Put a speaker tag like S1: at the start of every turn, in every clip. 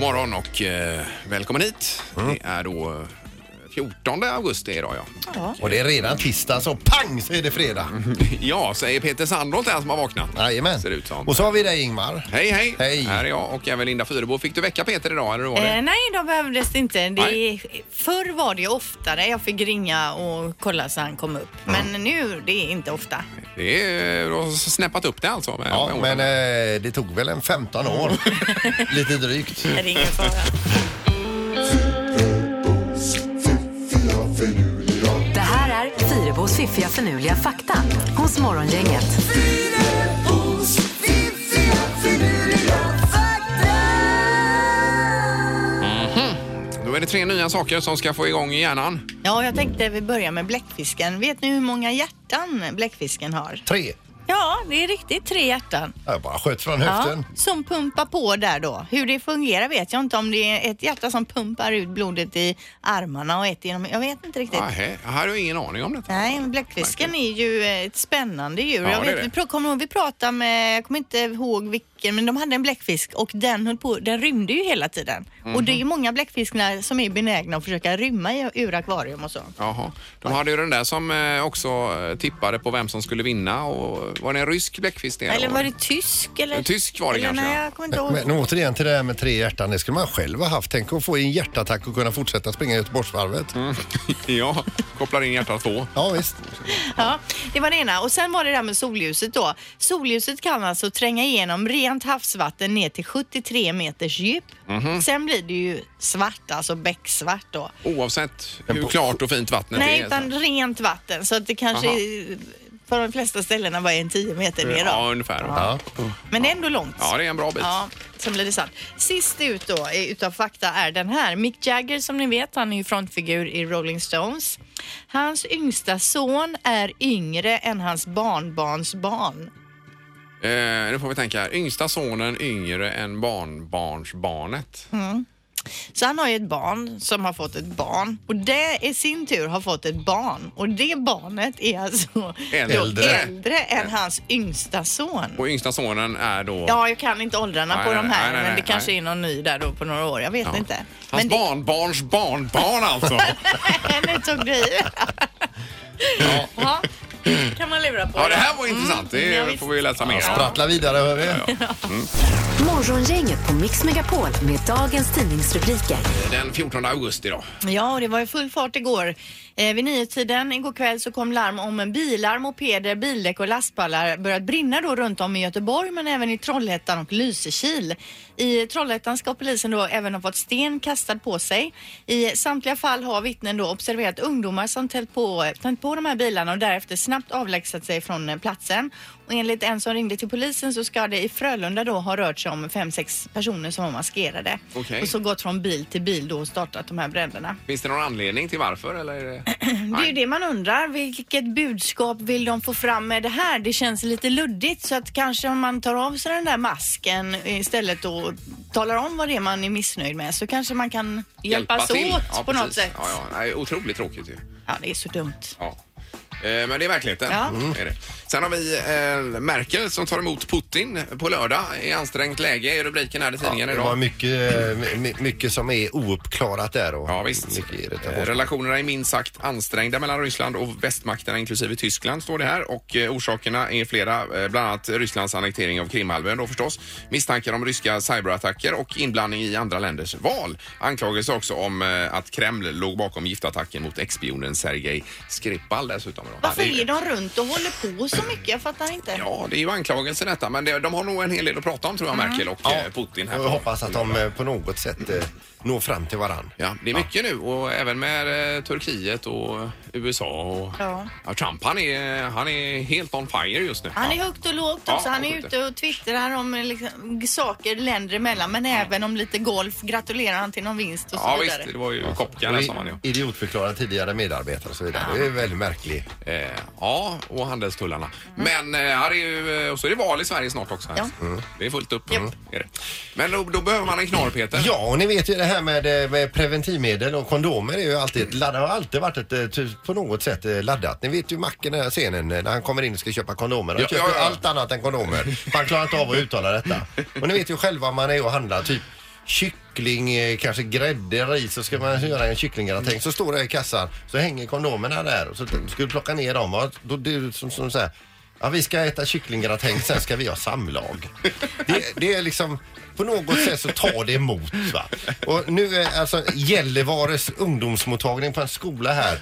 S1: morgon och eh, välkommen hit.
S2: Mm.
S1: Det är då eh, 14 augusti idag ja.
S2: Och det är redan tisdag så pang så är det fredag.
S1: Ja, säger Peter Sandholt här som har vaknat.
S2: Jajamän.
S1: Mhm. Ser det ut som.
S2: Och så har vi dig Ingmar.
S1: Hej, hej,
S2: Hej.
S1: Här är jag och även Linda Fyrebo. Fick du väcka Peter idag eller hur var det?
S3: Eh, nej, de behövdes inte. Det,
S1: Nej.
S3: förr var det oftare jag fick ringa och kolla så han kom upp. Men
S1: Mm.
S3: nu, det är inte ofta.
S1: Det är, du har snäppat upp det alltså. Med,
S2: Ja,
S1: med
S2: men
S1: orden.
S2: eh, det tog väl en 15 år. Lite drygt.
S3: Det är ingen fara.
S4: Det här är Fyrabos fiffiga förnuliga fakta hos Morgongänget.
S1: Då är det tre nya saker som ska få igång hjärnan.
S3: Ja, jag tänkte vi börjar med bläckfisken. Vet ni hur många hjärtan bläckfisken har?
S2: Tre.
S3: Ja, det är riktigt tre hjärtan.
S2: Jag bara sköt från höften.
S3: som pumpar på där då. Hur det fungerar vet jag inte. Om det är ett hjärta som pumpar ut blodet i armarna och ett genom... Jag vet inte riktigt.
S1: Ah, hej. Jag hade ju ingen aning om detta.
S3: Nej, men bläckfisken är ju eh, ett spännande djur.
S1: Ja,
S3: jag
S1: det är
S3: vet,
S1: det.
S3: vi pra- kommer ihåg, vi pratade med, jag kommer inte ihåg vilken, men de hade en bläckfisk och den höll på, den rymde ju hela tiden. Och det
S1: Mhm.
S3: är ju många bläckfiskar som är benägna att försöka rymma i- ur akvarium och så.
S1: Jaha. De hade ju den där som eh, också eh, tippade på vem som skulle vinna. Och, var det en rysk bläckfisk? det,
S3: Eller
S1: eller?
S3: var det tysk? Eller?
S1: En tysk var det
S3: eller,
S1: kanske, ja.
S3: Nej, jag kommer inte ihåg.
S2: Men återigen till det här med tre hjärtan, det skulle man själv ha haft. Tänk att få en hjärtattack och kunna fortsätta springa Göteborgsvarvet.
S1: Mm. Ja, kopplar in hjärta två.
S2: Ja visst.
S3: Ja, det var det ena. Och sen var det det här med solljuset då. Solljuset kan alltså tränga igenom rent havsvatten ner till 73 meters djup.
S1: Mhm.
S3: Sen blir det ju svart, alltså becksvart då.
S1: Oavsett hur klart och fint vattnet
S3: Nej,
S1: är.
S3: utan rent vatten. Så att det kanske
S1: Aha.
S3: är, på de flesta ställena var en 10 meter ner.
S1: Ja,
S3: Då.
S1: ungefär.
S2: Ja.
S3: Men det är ändå långt.
S1: Ja, det är en bra bit.
S3: Ja, sen blir det sant. Sist ut då eh, utav fakta är den här. Mick Jagger som ni vet, han är ju frontfigur i Rolling Stones. Hans yngsta son är yngre än hans barnbarns barn.
S1: Eh, nu får vi tänka här. Yngsta sonen yngre än barnbarnsbarnet.
S3: Mm. Så han har ju ett barn som har fått ett barn och det i sin tur har fått ett barn och det barnet är alltså
S1: Äldre.
S3: då äldre än hans yngsta son.
S1: Och yngsta sonen är då...
S3: Ja, jag kan inte åldrarna
S1: Nej,
S3: på
S1: nej,
S3: de här,
S1: nej, nej,
S3: men det
S1: nej.
S3: kanske är någon ny där då på några år. Jag vet
S1: Ja.
S3: inte.
S1: Hans
S3: men
S1: barnbarns barnbarn alltså.
S3: Det, nu tog du i. ja. kan man lura på.
S1: ja, det här var intressant.
S3: Mm, ja,
S1: Det
S3: visst.
S1: får vi läsa mer om.
S2: Sprattla vidare hör vi.
S4: Morgongänget på Mix Megapol med dagens tidningsrubriker.
S1: Den 14 augusti då.
S3: Ja, och det var ju full fart igår. Eh, vid niotiden igår kväll så kom larm om en bilar, mopeder, bildäck och lastpallar börjat brinna då runt om i Göteborg men även i Trollhättan och Lysekil. I Trollhättan ska polisen då även ha fått sten kastad på sig. I samtliga fall har vittnen då observerat ungdomar som tänt på, tänt på de här bilarna och därefter snabbt avlägsnat sig från eh, platsen. Och enligt en som ringde till polisen så ska det i Frölunda då ha rört sig om fem, sex personer som var maskerade.
S1: Okej.
S3: Och så gått från bil till bil då och startat de här bränderna.
S1: Finns det någon anledning till varför? Eller är det...
S3: Det är ju det man undrar. Vilket budskap vill de få fram med det här? Det känns lite luddigt så att kanske om man tar av sig den där masken istället och talar om vad det är man är missnöjd med så kanske man kan hjälpas
S1: till.
S3: åt
S1: Ja,
S3: på något
S1: precis.
S3: sätt.
S1: Ja,
S3: Ja,
S1: ja. Nej, otroligt tråkigt ju.
S3: det är så dumt.
S1: Ja. Eh, Men det är verkligheten.
S3: Ja.
S1: Är det. Sen har vi eh, Merkel som tar emot Putin på lördag i ansträngt läge i rubriken här i tidningen
S2: Det var
S1: idag.
S2: mycket, eh, my- my- mycket som är ouppklarat där och
S1: Ja, visst.
S2: mycket
S1: Eh,
S2: irritation.
S1: Relationerna är minst sagt ansträngda mellan Ryssland och västmakterna inklusive Tyskland står det här och eh, orsakerna är flera, eh, bland annat Rysslands annektering av Krimhalvön då förstås, misstankar om ryska cyberattacker och inblandning i andra länders val. Anklagelser också om eh, att Kreml låg bakom giftattacken mot ex-spionen Sergej Skripal dessutom. då.
S3: Varför
S1: Ja, det
S3: är de runt och håller på så mycket? Jag fattar inte.
S1: Ja, det är ju anklagelser detta, men det, de har nog en hel del att prata om tror jag, Merkel och eh, Putin här.
S2: Mm. Jag hoppas att de eh, på något sätt eh, når fram till varann.
S1: Ja, det är mycket nu och även med eh, Turkiet och USA och ja.
S3: Ja.
S1: Trump, han är, han är helt on fire just nu.
S3: Han är högt och lågt
S1: Ja,
S3: också. han
S1: jag
S3: är
S1: skjuter.
S3: ute och twittrar om eh, liksom, saker länder emellan men även om lite golf. Gratulerar han till någon vinst och så
S1: Ja
S3: vidare.
S1: visst, det var ju Kopka
S2: Och
S1: där
S2: i-
S1: som han ju.
S2: Idiotförklara tidigare medarbetare och så vidare. Det är väldigt märkligt.
S1: Eh, ja, och handelstullarna. Men eh, här är ju, eh, och så är det val i Sverige snart också. här.
S3: Mm. Ja.
S1: Det är fullt upp. Mm. Är det. Men då, då behöver man en knorr, Peter.
S2: Ja, och ni vet ju det här med, eh, med preventivmedel och kondomer är ju alltid ett laddat, har alltid varit ett, eh, ty- på något sätt eh, laddat. Ni vet ju Macken, den här scenen, eh, när han kommer in och ska köpa kondomer. Han
S1: Ja,
S2: köper
S1: ja, ja.
S2: allt annat än kondomer. för Han klarar inte av att uttala detta. Och ni vet ju själva om man är och handlar typ kyckling, eh, kanske grädde, ris så ska man göra en kycklinggratäng. Så står det i kassan så hänger kondomerna där och så t- ska du plocka ner dem. Och då du som, som så här, ja vi ska äta kycklinggratäng sen ska vi ha samlag. Det, det är liksom på något sätt så tar det emot va. Och nu är alltså Gällivares ungdomsmottagning på en skola här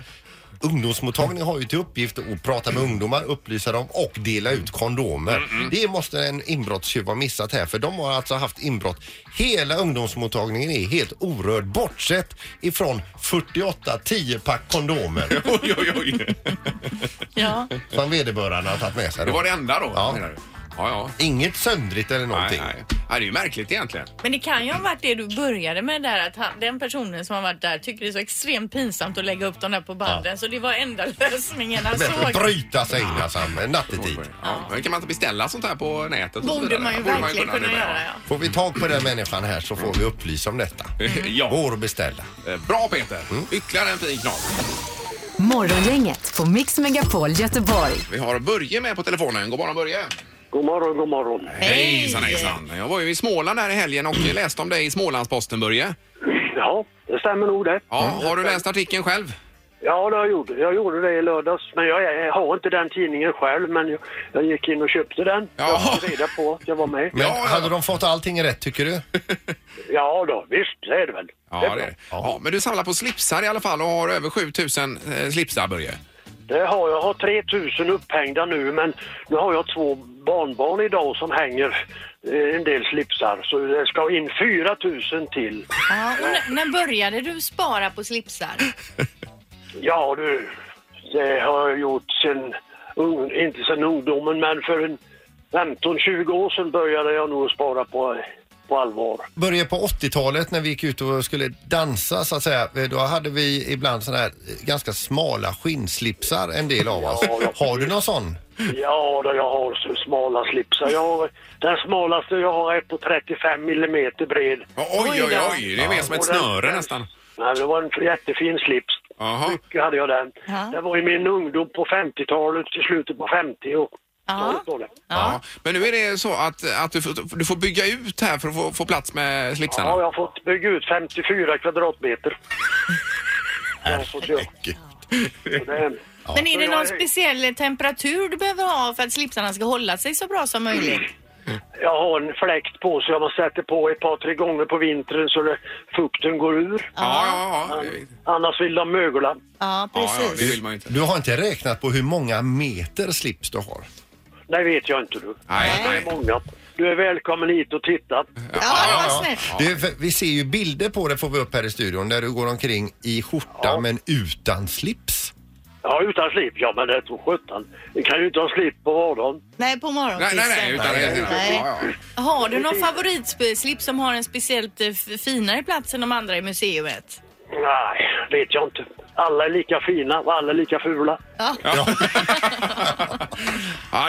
S2: Ungdomsmottagningen har ju till uppgift att prata med ungdomar, upplysa dem och dela ut kondomer.
S1: Mm,
S2: Det måste en inbrottstjuv ha missat här för de har alltså haft inbrott. Hela ungdomsmottagningen är helt orörd bortsett ifrån 48 10-pack kondomer
S1: Oj, oj, oj.
S3: Ja.
S2: som vederbörande har tagit med sig.
S1: Det
S2: Då.
S1: var det enda då,
S2: Ja.
S1: menar du? Ja, ja.
S2: Inget söndrigt eller
S1: Nej,
S2: någonting.
S1: nej. nej, det är ju märkligt egentligen.
S3: Men det kan ju ha varit det du började med där att han, den personen som har varit där tycker det är så extremt pinsamt att lägga upp dem där på banden så det var enda lösningen han
S2: Bättre att
S3: såg.
S2: bryta sig in alltså, nattetid.
S1: Ja. Men kan man inte beställa sånt här på nätet? och så
S3: Borde
S1: vidare?
S3: man ju verkligen kunna
S1: det, men,
S3: göra ja.
S2: Får vi tag på den människan här så får vi upplysa om detta.
S1: Ja,
S2: Går att beställa.
S1: Eh, bra Peter. Ytterligare en fin knorr.
S4: Morgongänget på Mix Megapol Göteborg.
S1: Vi har Börje med på telefonen. God morgon Börje.
S5: God morgon, god morgon.
S3: Hej.
S1: Hejsan hejsan. Jag var ju i Småland här i helgen och läste om dig i Smålandsposten Börje.
S5: Ja, det stämmer nog det.
S1: Ja, har du läst artikeln själv?
S5: Ja, det har jag gjort. Jag gjorde det i lördags, men jag, är- jag har inte den tidningen själv, men jag, jag gick in och köpte den.
S1: Ja.
S5: Jag fick reda på att jag var med.
S2: Men
S1: Ja, ja.
S2: hade de fått allting rätt tycker du?
S5: Ja då, visst, det är det väl.
S1: Ja,
S5: det, är
S1: det
S5: bra.
S1: är det. Ja, men du samlar på slipsar i alla fall och har över 7000 eh, slipsar Börje.
S5: det har jag. Jag har 3000 upphängda nu, men nu har jag två barnbarn idag som hänger eh, en del slipsar, så det ska in 4000 till.
S3: ja och när, när började du spara på slipsar?
S5: Ja du, det har jag gjort sen, ung- inte sen ungdomen, men för en 15-20 år sedan började jag nog spara på, på allvar.
S2: började på 80-talet när vi gick ut och skulle dansa så att säga. Då hade vi ibland sådana här ganska smala skinnslipsar en del av oss.
S5: Ja, ja.
S2: Har du någon sån?
S1: Mm.
S5: Ja, då jag har så smala slipsar. Jag har, den smalaste jag har är på 35 millimeter bred.
S1: Oj, oj,
S3: då.
S1: oj. Det är mer som ett
S5: Och den-
S1: snöre
S5: den-
S1: nästan.
S5: Nej, det var en jättefin slips.
S1: Jaha.
S5: Mycket hade jag den.
S3: Ja.
S5: Det var i min ungdom på 50-talet, till slutet på 50 och
S3: Ja.
S5: var det.
S1: Ja. Men nu är det så att, att du, får, du får bygga ut här för att få, få plats med slipsarna.
S5: Ja, jag har fått bygga ut 54 kvadratmeter. Jag har fått göra. Och det-
S3: Men är det
S5: Ja,
S3: någon
S5: jag-
S3: speciell temperatur du behöver ha för att slipsarna ska hålla sig så bra som möjligt?
S5: Jag har en fläkt på så jag man sätter på ett par, tre gånger på vintern så det, fukten går ur.
S1: Ja, ja, ja.
S5: Annars vill de mögla.
S3: Ja,
S1: Ja, ja, det
S3: precis.
S1: vill man ju inte.
S2: Du har inte räknat på hur många meter slips du har?
S5: Det vet jag inte du.
S1: Nej,
S5: Det är
S1: nej.
S5: många. Du är välkommen hit och titta.
S3: Ja, vad snällt.
S2: Du, för vi ser ju bilder på det får vi upp här i studion där du går omkring i skjorta men utan slips.
S5: Ja, utan slip. Ja, men det är tror sjutton. Vi kan ju inte ha slip på vardagen.
S3: Nej, på
S1: Nej,
S3: morgonkvisten.
S1: nej, nej. Utan det,
S3: Nej.
S1: ja, ja.
S3: Har du någon favoritslips som har en speciellt eh, f- finare plats än de andra i museet?
S5: Nej, vet jag inte. Alla är lika fina och alla är lika fula.
S1: ja,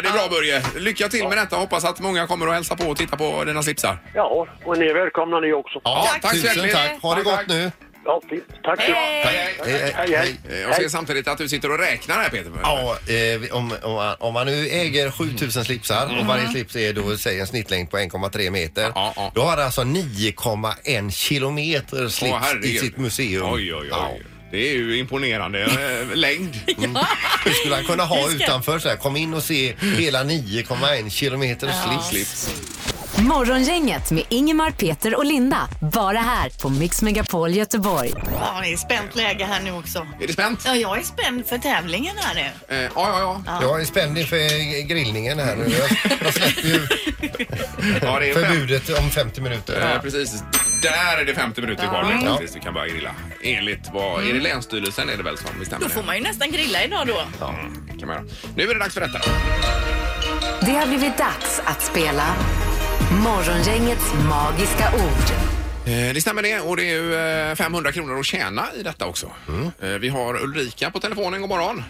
S1: det är bra Börje. Lycka till med detta. Hoppas att många kommer och hälsa på och titta på dina slipsar.
S5: Ja, och ni är välkomna ni också.
S1: Ja, tack så
S2: Tusen
S1: hjärtligt.
S2: tack. Ha
S1: Tack,
S2: det gott
S1: tack.
S2: nu.
S5: Ja, fint. Tack så mycket.
S1: Hej, hej.
S2: Eh,
S5: Hej, hej.
S1: Eh, Jag ser samtidigt att du sitter och räknar här Peter.
S2: Ja, eh, vi- om, om, man, om man nu äger 7000 slipsar och varje slips är då säg en snittlängd på 1,3 meter.
S1: Mhm. Ja, ja.
S2: Då har han alltså 9,1 kilometer slips
S1: Åh, herregud.
S2: i sitt museum.
S1: Oj, oj,
S2: Ja.
S1: oj. Det är ju imponerande eh, längd.
S2: Det skulle han kunna ha
S3: Vi ska-
S2: utanför så här. Kom in och se hela 9,1 kilometer slips.
S1: Slips.
S4: Morgongänget med Ingemar, Peter och Linda. Bara här på Mix Megapol Göteborg.
S3: Ja, det är spänt läge här nu också.
S1: Är det spänt?
S3: Ja, jag är spänd för tävlingen här nu.
S1: Eh, Ja, ja, ja.
S2: Jag är spänd inför grillningen här
S1: Mm.
S2: nu. Jag, jag släpper ju
S1: ja det är fem.
S2: förbudet om 50 minuter.
S1: Eh, precis. Där är det 50 minuter kvar nu tills vi kan börja grilla. Enligt vad, är det Länsstyrelsen är det väl som bestämmer
S3: Då får man ju nästan grilla idag då.
S1: det? Ja, kan man göra. Nu är det dags för detta.
S4: Det har blivit dags att spela Morgongängets magiska ord.
S1: Eh, Det stämmer det och det är ju eh, 500 kronor att tjäna i detta också. Eh, Vi har Ulrika på telefonen, god morgon.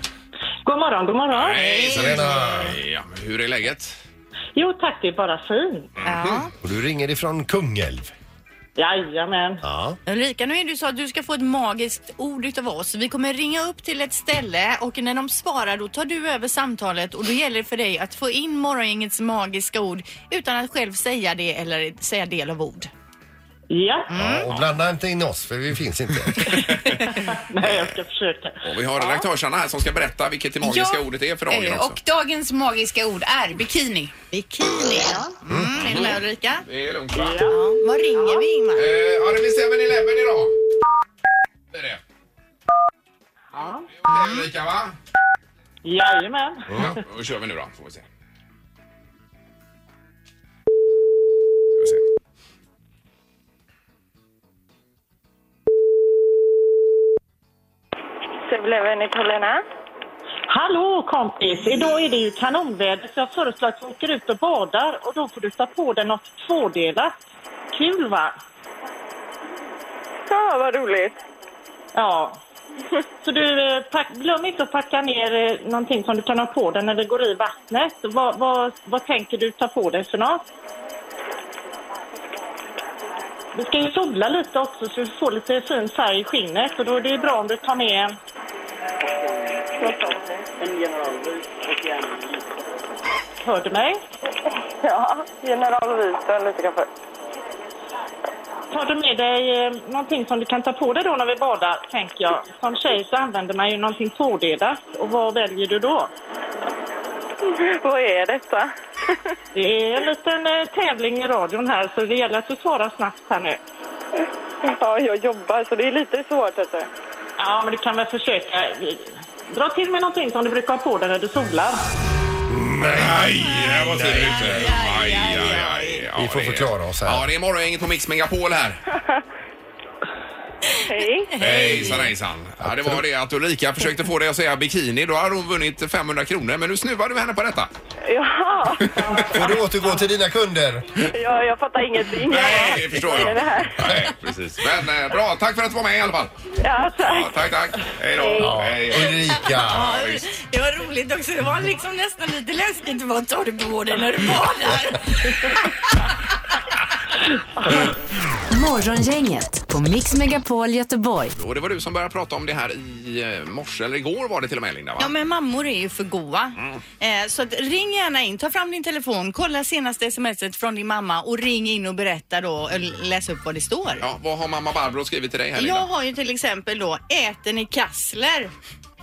S6: God morgon, god morgon.
S1: Hejsan
S2: Helena.
S1: Ja, hur är läget?
S6: Jo tack, det är bara fint.
S3: Ja.
S2: Och du ringer ifrån Kungälv.
S6: Jajamän.
S2: Ja.
S3: Ulrika, nu är det ju så att du ska få ett magiskt ord utav oss. Vi kommer ringa upp till ett ställe och när de svarar då tar du över samtalet och då gäller det för dig att få in morgongängets magiska ord utan att själv säga det eller säga del av ord.
S6: Ja,
S2: Ja, och blanda inte in oss för vi finns inte.
S6: nej jag ska försöka.
S1: Och vi har redaktörsarna här som ska berätta vilket det magiska
S7: Ja,
S1: ordet är för dagen
S7: eh,
S1: också.
S7: Och dagens magiska ord är bikini.
S3: Bikini. Mm. Är du med Ulrika?
S1: Det är lugnt va?
S3: Vad ringer vi Ingmar?
S1: Eh, ja, det blir 7-Eleven idag. Det är det. Ja, det är okej Ulrika va?
S6: Jajamän.
S1: Ja, då kör vi nu då. Får vi se. Ska vi se.
S8: Sevleven i Paulina.
S6: Hallå kompis, idag är det ju kanonväder så jag föreslår att vi åker ut och badar och då får du ta på dig något tvådelat. Kul va?
S8: Ja, vad roligt.
S6: Ja. Så du, eh, pack, glöm inte att packa ner eh, någonting som du kan ha på dig när det går i vattnet. Vad, vad, vad tänker du ta på dig för något? Du ska ju sola lite också så du får lite fin färg i skinnet och då är det ju bra om du tar med... Hör du mig?
S8: Ja, General Vita och lite kaffe.
S6: Tar du med dig eh, någonting som du kan ta på dig då när vi badar, tänker jag? Som tjej så använder man ju någonting tvådelat och vad väljer du då?
S8: Vad är detta?
S6: Det är en liten eh, tävling i radion här, så det gäller att du svarar snabbt här nu.
S8: Ja, jag jobbar så det är lite svårt. Alltså.
S6: Ja, men du kan väl försöka. Dra till med någonting som du brukar ha på dig när du solar.
S1: Aj, jag var tidigt ute. Aj, aj, aj. Ja,
S2: Vi får
S1: det är-
S2: förklara oss här.
S1: Ja, det är morgongänget på Mix Megapol här.
S8: Hej.
S1: Hejsan, hejsan. Ja, det var det att Ulrika försökte få dig att säga bikini. Då hade hon vunnit 500 kronor, men nu snuvade vi henne på detta.
S8: Jaha,
S2: Får du återgå till dina kunder?
S8: jag, jag fattar ingenting.
S1: Nej, det förstår
S8: Vad är
S1: jag.
S8: det här?
S1: Nej, precis. Men eh, bra, tack för att du var med i alla fall.
S8: Ja,
S1: Ja,
S8: tack.
S1: tack, tack. Hej då. Hej.
S2: Ulrika.
S7: Det var roligt också. Det var liksom nästan lite läskigt. Vad tar du på dig när du badar?
S4: Morgongänget på Mix Megapol Göteborg.
S1: Och det var du som började prata om det här i eh, morse, eller igår var det till och med Linda va?
S3: Ja men mammor är ju för goa.
S7: Mm.
S3: Eh, så att ring gärna in, ta fram din telefon, kolla senaste smset från din mamma och ring in och berätta då, eller läs upp vad det står.
S1: Ja, vad har mamma Barbro skrivit till dig här
S3: Jag
S1: Linda?
S3: har ju till exempel då, äter ni kassler?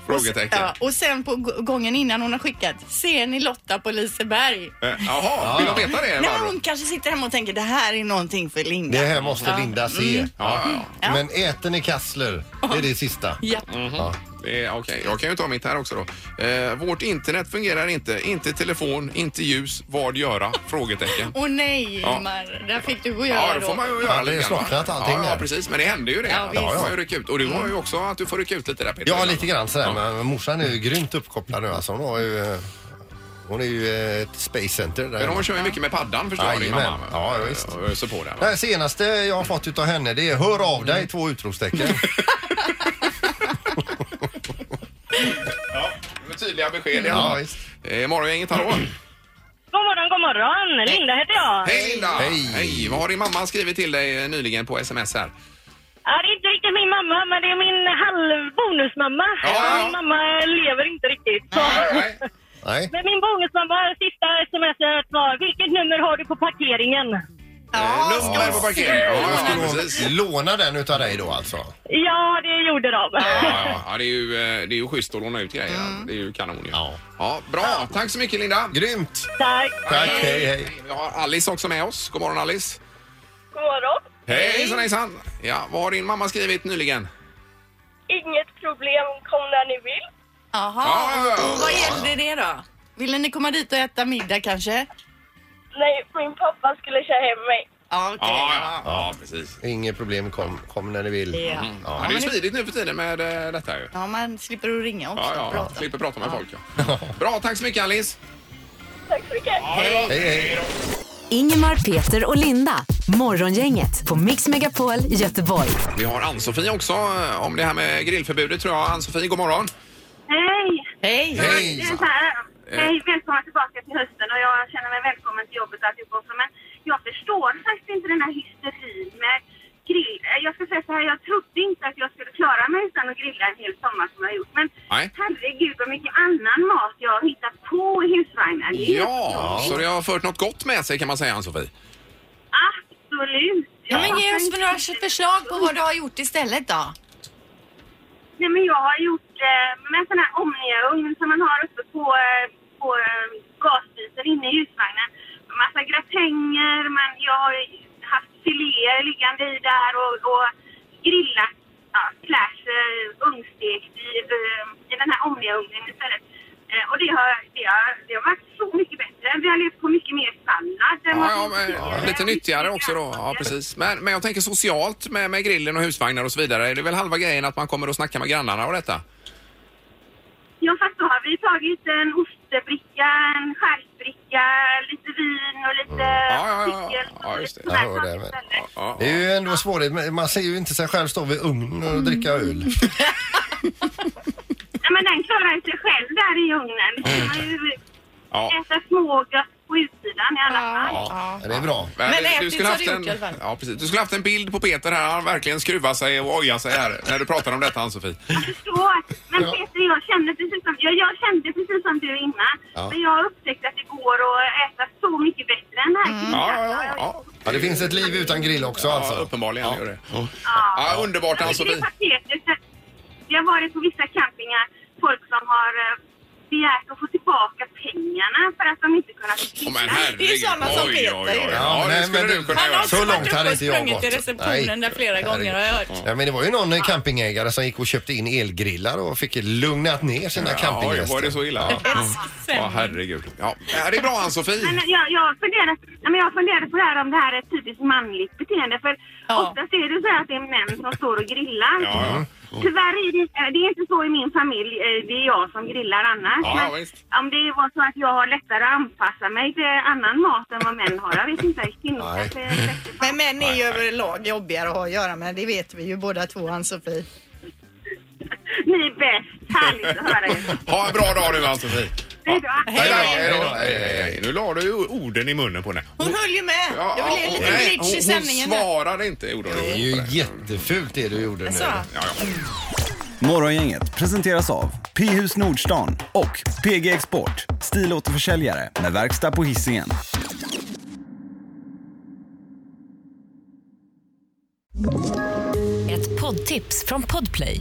S1: Frågetecken.
S3: Ja, och sen på g- gången innan hon har skickat, ser ni Lotta på Liseberg?
S1: Eh, Jaha, vill du veta det
S3: Nej,
S1: Barbro?
S3: hon kanske sitter hemma och tänker det här är någonting för Linda.
S2: Det här måste Linda se.
S1: Ja, ja, ja.
S3: Ja.
S2: Men äter ni kassler? Det är det sista.
S3: Ja.
S2: Ja.
S1: Det är- Okej, jag kan ju ta mitt här också då. Eh, vårt internet fungerar inte. Inte telefon, inte ljus. Vad göra? Frågetecken.
S3: Åh nej
S1: Ja.
S3: Ingmar, där fick du gå och
S1: Ja,
S3: göra
S1: det får man ju
S2: Ja, det
S1: göra
S2: är
S1: lite grann, va?
S2: slocknat allting
S1: ja, ja,
S2: där. Mm.
S1: precis. Men det händer ju det.
S3: Ja,
S1: Ja,
S3: visst.
S1: får ju rycka ut. Och du har ju också att du får rycka ut lite där Peter.
S2: Ja, lite grann sådär.
S1: Ja.
S2: Men morsan är ju grymt uppkopplad nu alltså. Hon har ju... eh, Hon är ju eh, ett space center där.
S1: Men hon kör ju mycket med paddan förstår jag, din
S2: Jajamän.
S1: mamma.
S2: Ja, ja, visst.
S1: Och öser på där.
S2: Det
S1: va?
S2: här senaste jag har fått utav henne det är hör av dig, två utropstecken.
S1: Ja, det var tydliga besked.
S2: Ja,
S1: Ja,
S2: visst.
S1: eh, Morgongänget, hallå.
S8: God morgon, god morgon. Linda heter jag.
S1: Hej Linda!
S2: Hej.
S1: Hej! Vad har din mamma skrivit till dig eh, nyligen på sms här?
S8: Ja, det är inte riktigt min mamma, men det är min halvbonusmamma.
S1: Ja, ja.
S8: Min mamma lever inte riktigt. Så.
S1: Nej.
S2: Nej.
S8: Men min bonusmamma, sista smset var Vilket nummer har du på parkeringen?
S1: Eh, Nummer på parkeringen. Ja, ja,
S2: Skulle
S1: precis.
S2: hon låna den utav dig då alltså?
S8: Ja, det gjorde de.
S1: Ja, ja, ja, det är ju, eh, det är ju schysst att låna ut grejer. Det är ju kanon ju. Mm. Ja.
S2: Ja.
S1: bra. Tack så mycket Linda.
S2: Grymt!
S8: Tack.
S2: Tack, hej hej.
S1: Vi har Alice också med oss. God morgon Alice.
S8: God morgon.
S1: Hejsan hejsan. Ja, vad har din mamma skrivit nyligen?
S8: Inget problem, kom när ni vill.
S3: Jaha,
S1: Ja, ja, ja.
S7: Vad gällde det då?
S3: ville ni komma dit och äta middag kanske?
S8: Nej, min pappa skulle köra hem mig.
S3: Ja, okej.
S1: Ja, ja, ja, precis.
S2: Inget problem, kom, kom när ni vill.
S3: Ja.
S1: Ja, Mm. det är ju smidigt nu för tiden med eh, detta ju.
S3: Ja, man slipper att ringa också.
S1: Ja, ja,
S3: Prata.
S1: slipper prata med folk. Ja. Bra, tack så mycket Alice.
S8: Tack så mycket.
S2: Hej hej!
S4: Ingemar, Peter och Linda. Morgongänget på Mix Megapol Göteborg.
S1: Vi har Ann-Sofie också eh, om det här med grillförbudet tror jag. Ann-Sofie, god morgon.
S8: Hej!
S3: Hej!
S2: Hej!
S8: Det är så här, Hej, välkomna tillbaka till hösten och jag känner mig välkommen till jobbet och alltihop också. Men jag förstår faktiskt inte den här hysterin med grill. eh, Jag ska säga så här, jag trodde inte att jag skulle klara mig utan att grilla en hel sommar som jag har gjort. Men
S1: Nej.
S8: herregud vad mycket annan mat jag har hittat på i husvagnen.
S1: Mm.
S8: Det är helt
S1: Ja, så det har fört något gott med sig kan man säga Ann-Sofie.
S8: Absolut!
S3: Ja, men ge oss med några förslag på vad du har gjort istället då.
S8: Nej, men jag har gjort eh, med en sån här omniaugn som man har uppe på, eh, på eh, gasbiten inne i husvagnen. Massa gratänger, men jag har ju haft filéer liggande i där och, och grillat ja, slash eh, ugnstekt i, eh, i den här omniaugnen istället. Eh, och det har, det, har, det har varit så mycket bättre. Vi har levt på mycket mer sallad. än vad
S1: Ja, ja,
S8: vi
S1: men,
S8: tidigare.
S1: Lite nyttigare också då. Ja, precis. Men, men jag tänker socialt med, med grillen och husvagnar och så vidare. Det är väl halva grejen att man kommer och snackar med grannarna och detta?
S8: Ja, fast då har vi tagit en ostbricka, en charkbricka, lite vin och lite
S1: Ja, ja, ja.
S8: cykel.
S1: Ja, just det.
S8: Sådär
S2: Ja, det är
S8: saker
S2: väl-
S8: istället.
S1: Ja,
S2: Det är ju ändå svårighet. men Man ser ju inte sig själv stå vid ugnen och dricka öl.
S8: Nej, men den klarar ju sig själv där i ugnen. Det kan man ju
S1: ja.
S8: äta smågött på utsidan i alla fall.
S2: Ja, Det är bra.
S1: Men,
S3: Men
S1: du,
S3: ätit
S1: skulle
S3: har
S1: haft
S3: du gjort
S1: en,
S3: i alla fall.
S1: ja, precis. Du skulle haft en bild på Peter här. Han verkligen skruvar sig och ojar sig här när du pratar om detta, Ann-Sofie.
S8: Jag förstår. Men
S2: Ja.
S8: Peter, jag kände precis som, jag, jag kände precis som du innan.
S2: Ja.
S8: Men jag har upptäckt att det går att äta så mycket bättre än det här
S1: Ja, ja, ja, ja.
S2: Ja, det finns ett liv utan grill också
S1: ja
S2: alltså.
S1: uppenbarligen gör det. Ja, alltså, underbart,
S8: Jag tycker det
S1: Ann-Sofie.
S8: är patetiskt. att Vi har varit på vissa campingar, folk som har eh, begärt att få tillbaka pengarna för att de inte kunnat
S1: Åh,
S8: flytta.
S1: men herregud.
S7: Det är ju sådana som
S1: Oj, oj, oj,
S7: Peter.
S1: oj.
S2: Ja,
S1: Ja, det
S2: men-
S1: skulle
S2: men
S1: du
S2: du-
S1: kunna
S7: Han har
S1: göra.
S7: också
S2: Så långt
S7: varit
S2: hade
S7: uppe och
S2: inte jag
S7: sprungit i
S2: gått.
S7: receptionen
S2: Nej.
S7: där flera gånger har jag hört.
S2: Ja, men det var ju någon eh, campingägare som gick och köpte in elgrillar och fick lugnat ner sina
S1: Ja, oj,
S2: campinggäster.
S1: var det så illa? Ja, ja herregud. Ja, det är bra,
S8: Men
S1: Ann-Sofie.
S8: jag, jag, funderar, nej, men jag funderar på det här om det här är ett typiskt manligt beteende. För
S3: Ja.
S8: oftast är det så här att det är män som står och grillar. Mm.
S1: Ja, ja.
S8: Tyvärr är det, eh, det är inte så i min familj. eh, Det är jag som grillar annars.
S1: Ja,
S8: Men
S1: ja, visst.
S8: om det var så att jag har lättare att anpassa mig till annan mat än vad män har. Jag vet inte. Kvinnor
S2: Nej.
S8: kanske är bättre på-
S3: Men män är ju överlag jobbigare att ha att göra med. Det vet vi ju båda två, Ann-Sofie.
S8: Ni är bäst. Härligt att höra er.
S1: Ha en bra dag nu, Ann-Sofie.
S8: Hej då.
S1: Hej då,
S2: då,
S1: hej då.
S2: hej då.
S1: Hej, hej, hej. Nu la du ju orden i munnen på henne.
S3: Hon höll ju med.
S1: Ja,
S3: Jag vill ge
S1: hon-
S3: lite
S1: nej,
S3: bridge i
S1: hon-
S3: sändningen.
S1: Hon svarade inte, gjorde hon.
S2: Det är ju jättefult det du gjorde nu.
S7: Alltså.
S3: Så.
S1: Ja, ja.
S9: Morgongänget presenteras av P-hus Nordstan och PG Export, stilåterförsäljare med verkstad på Hisingen.
S10: Ett poddtips från Podplay.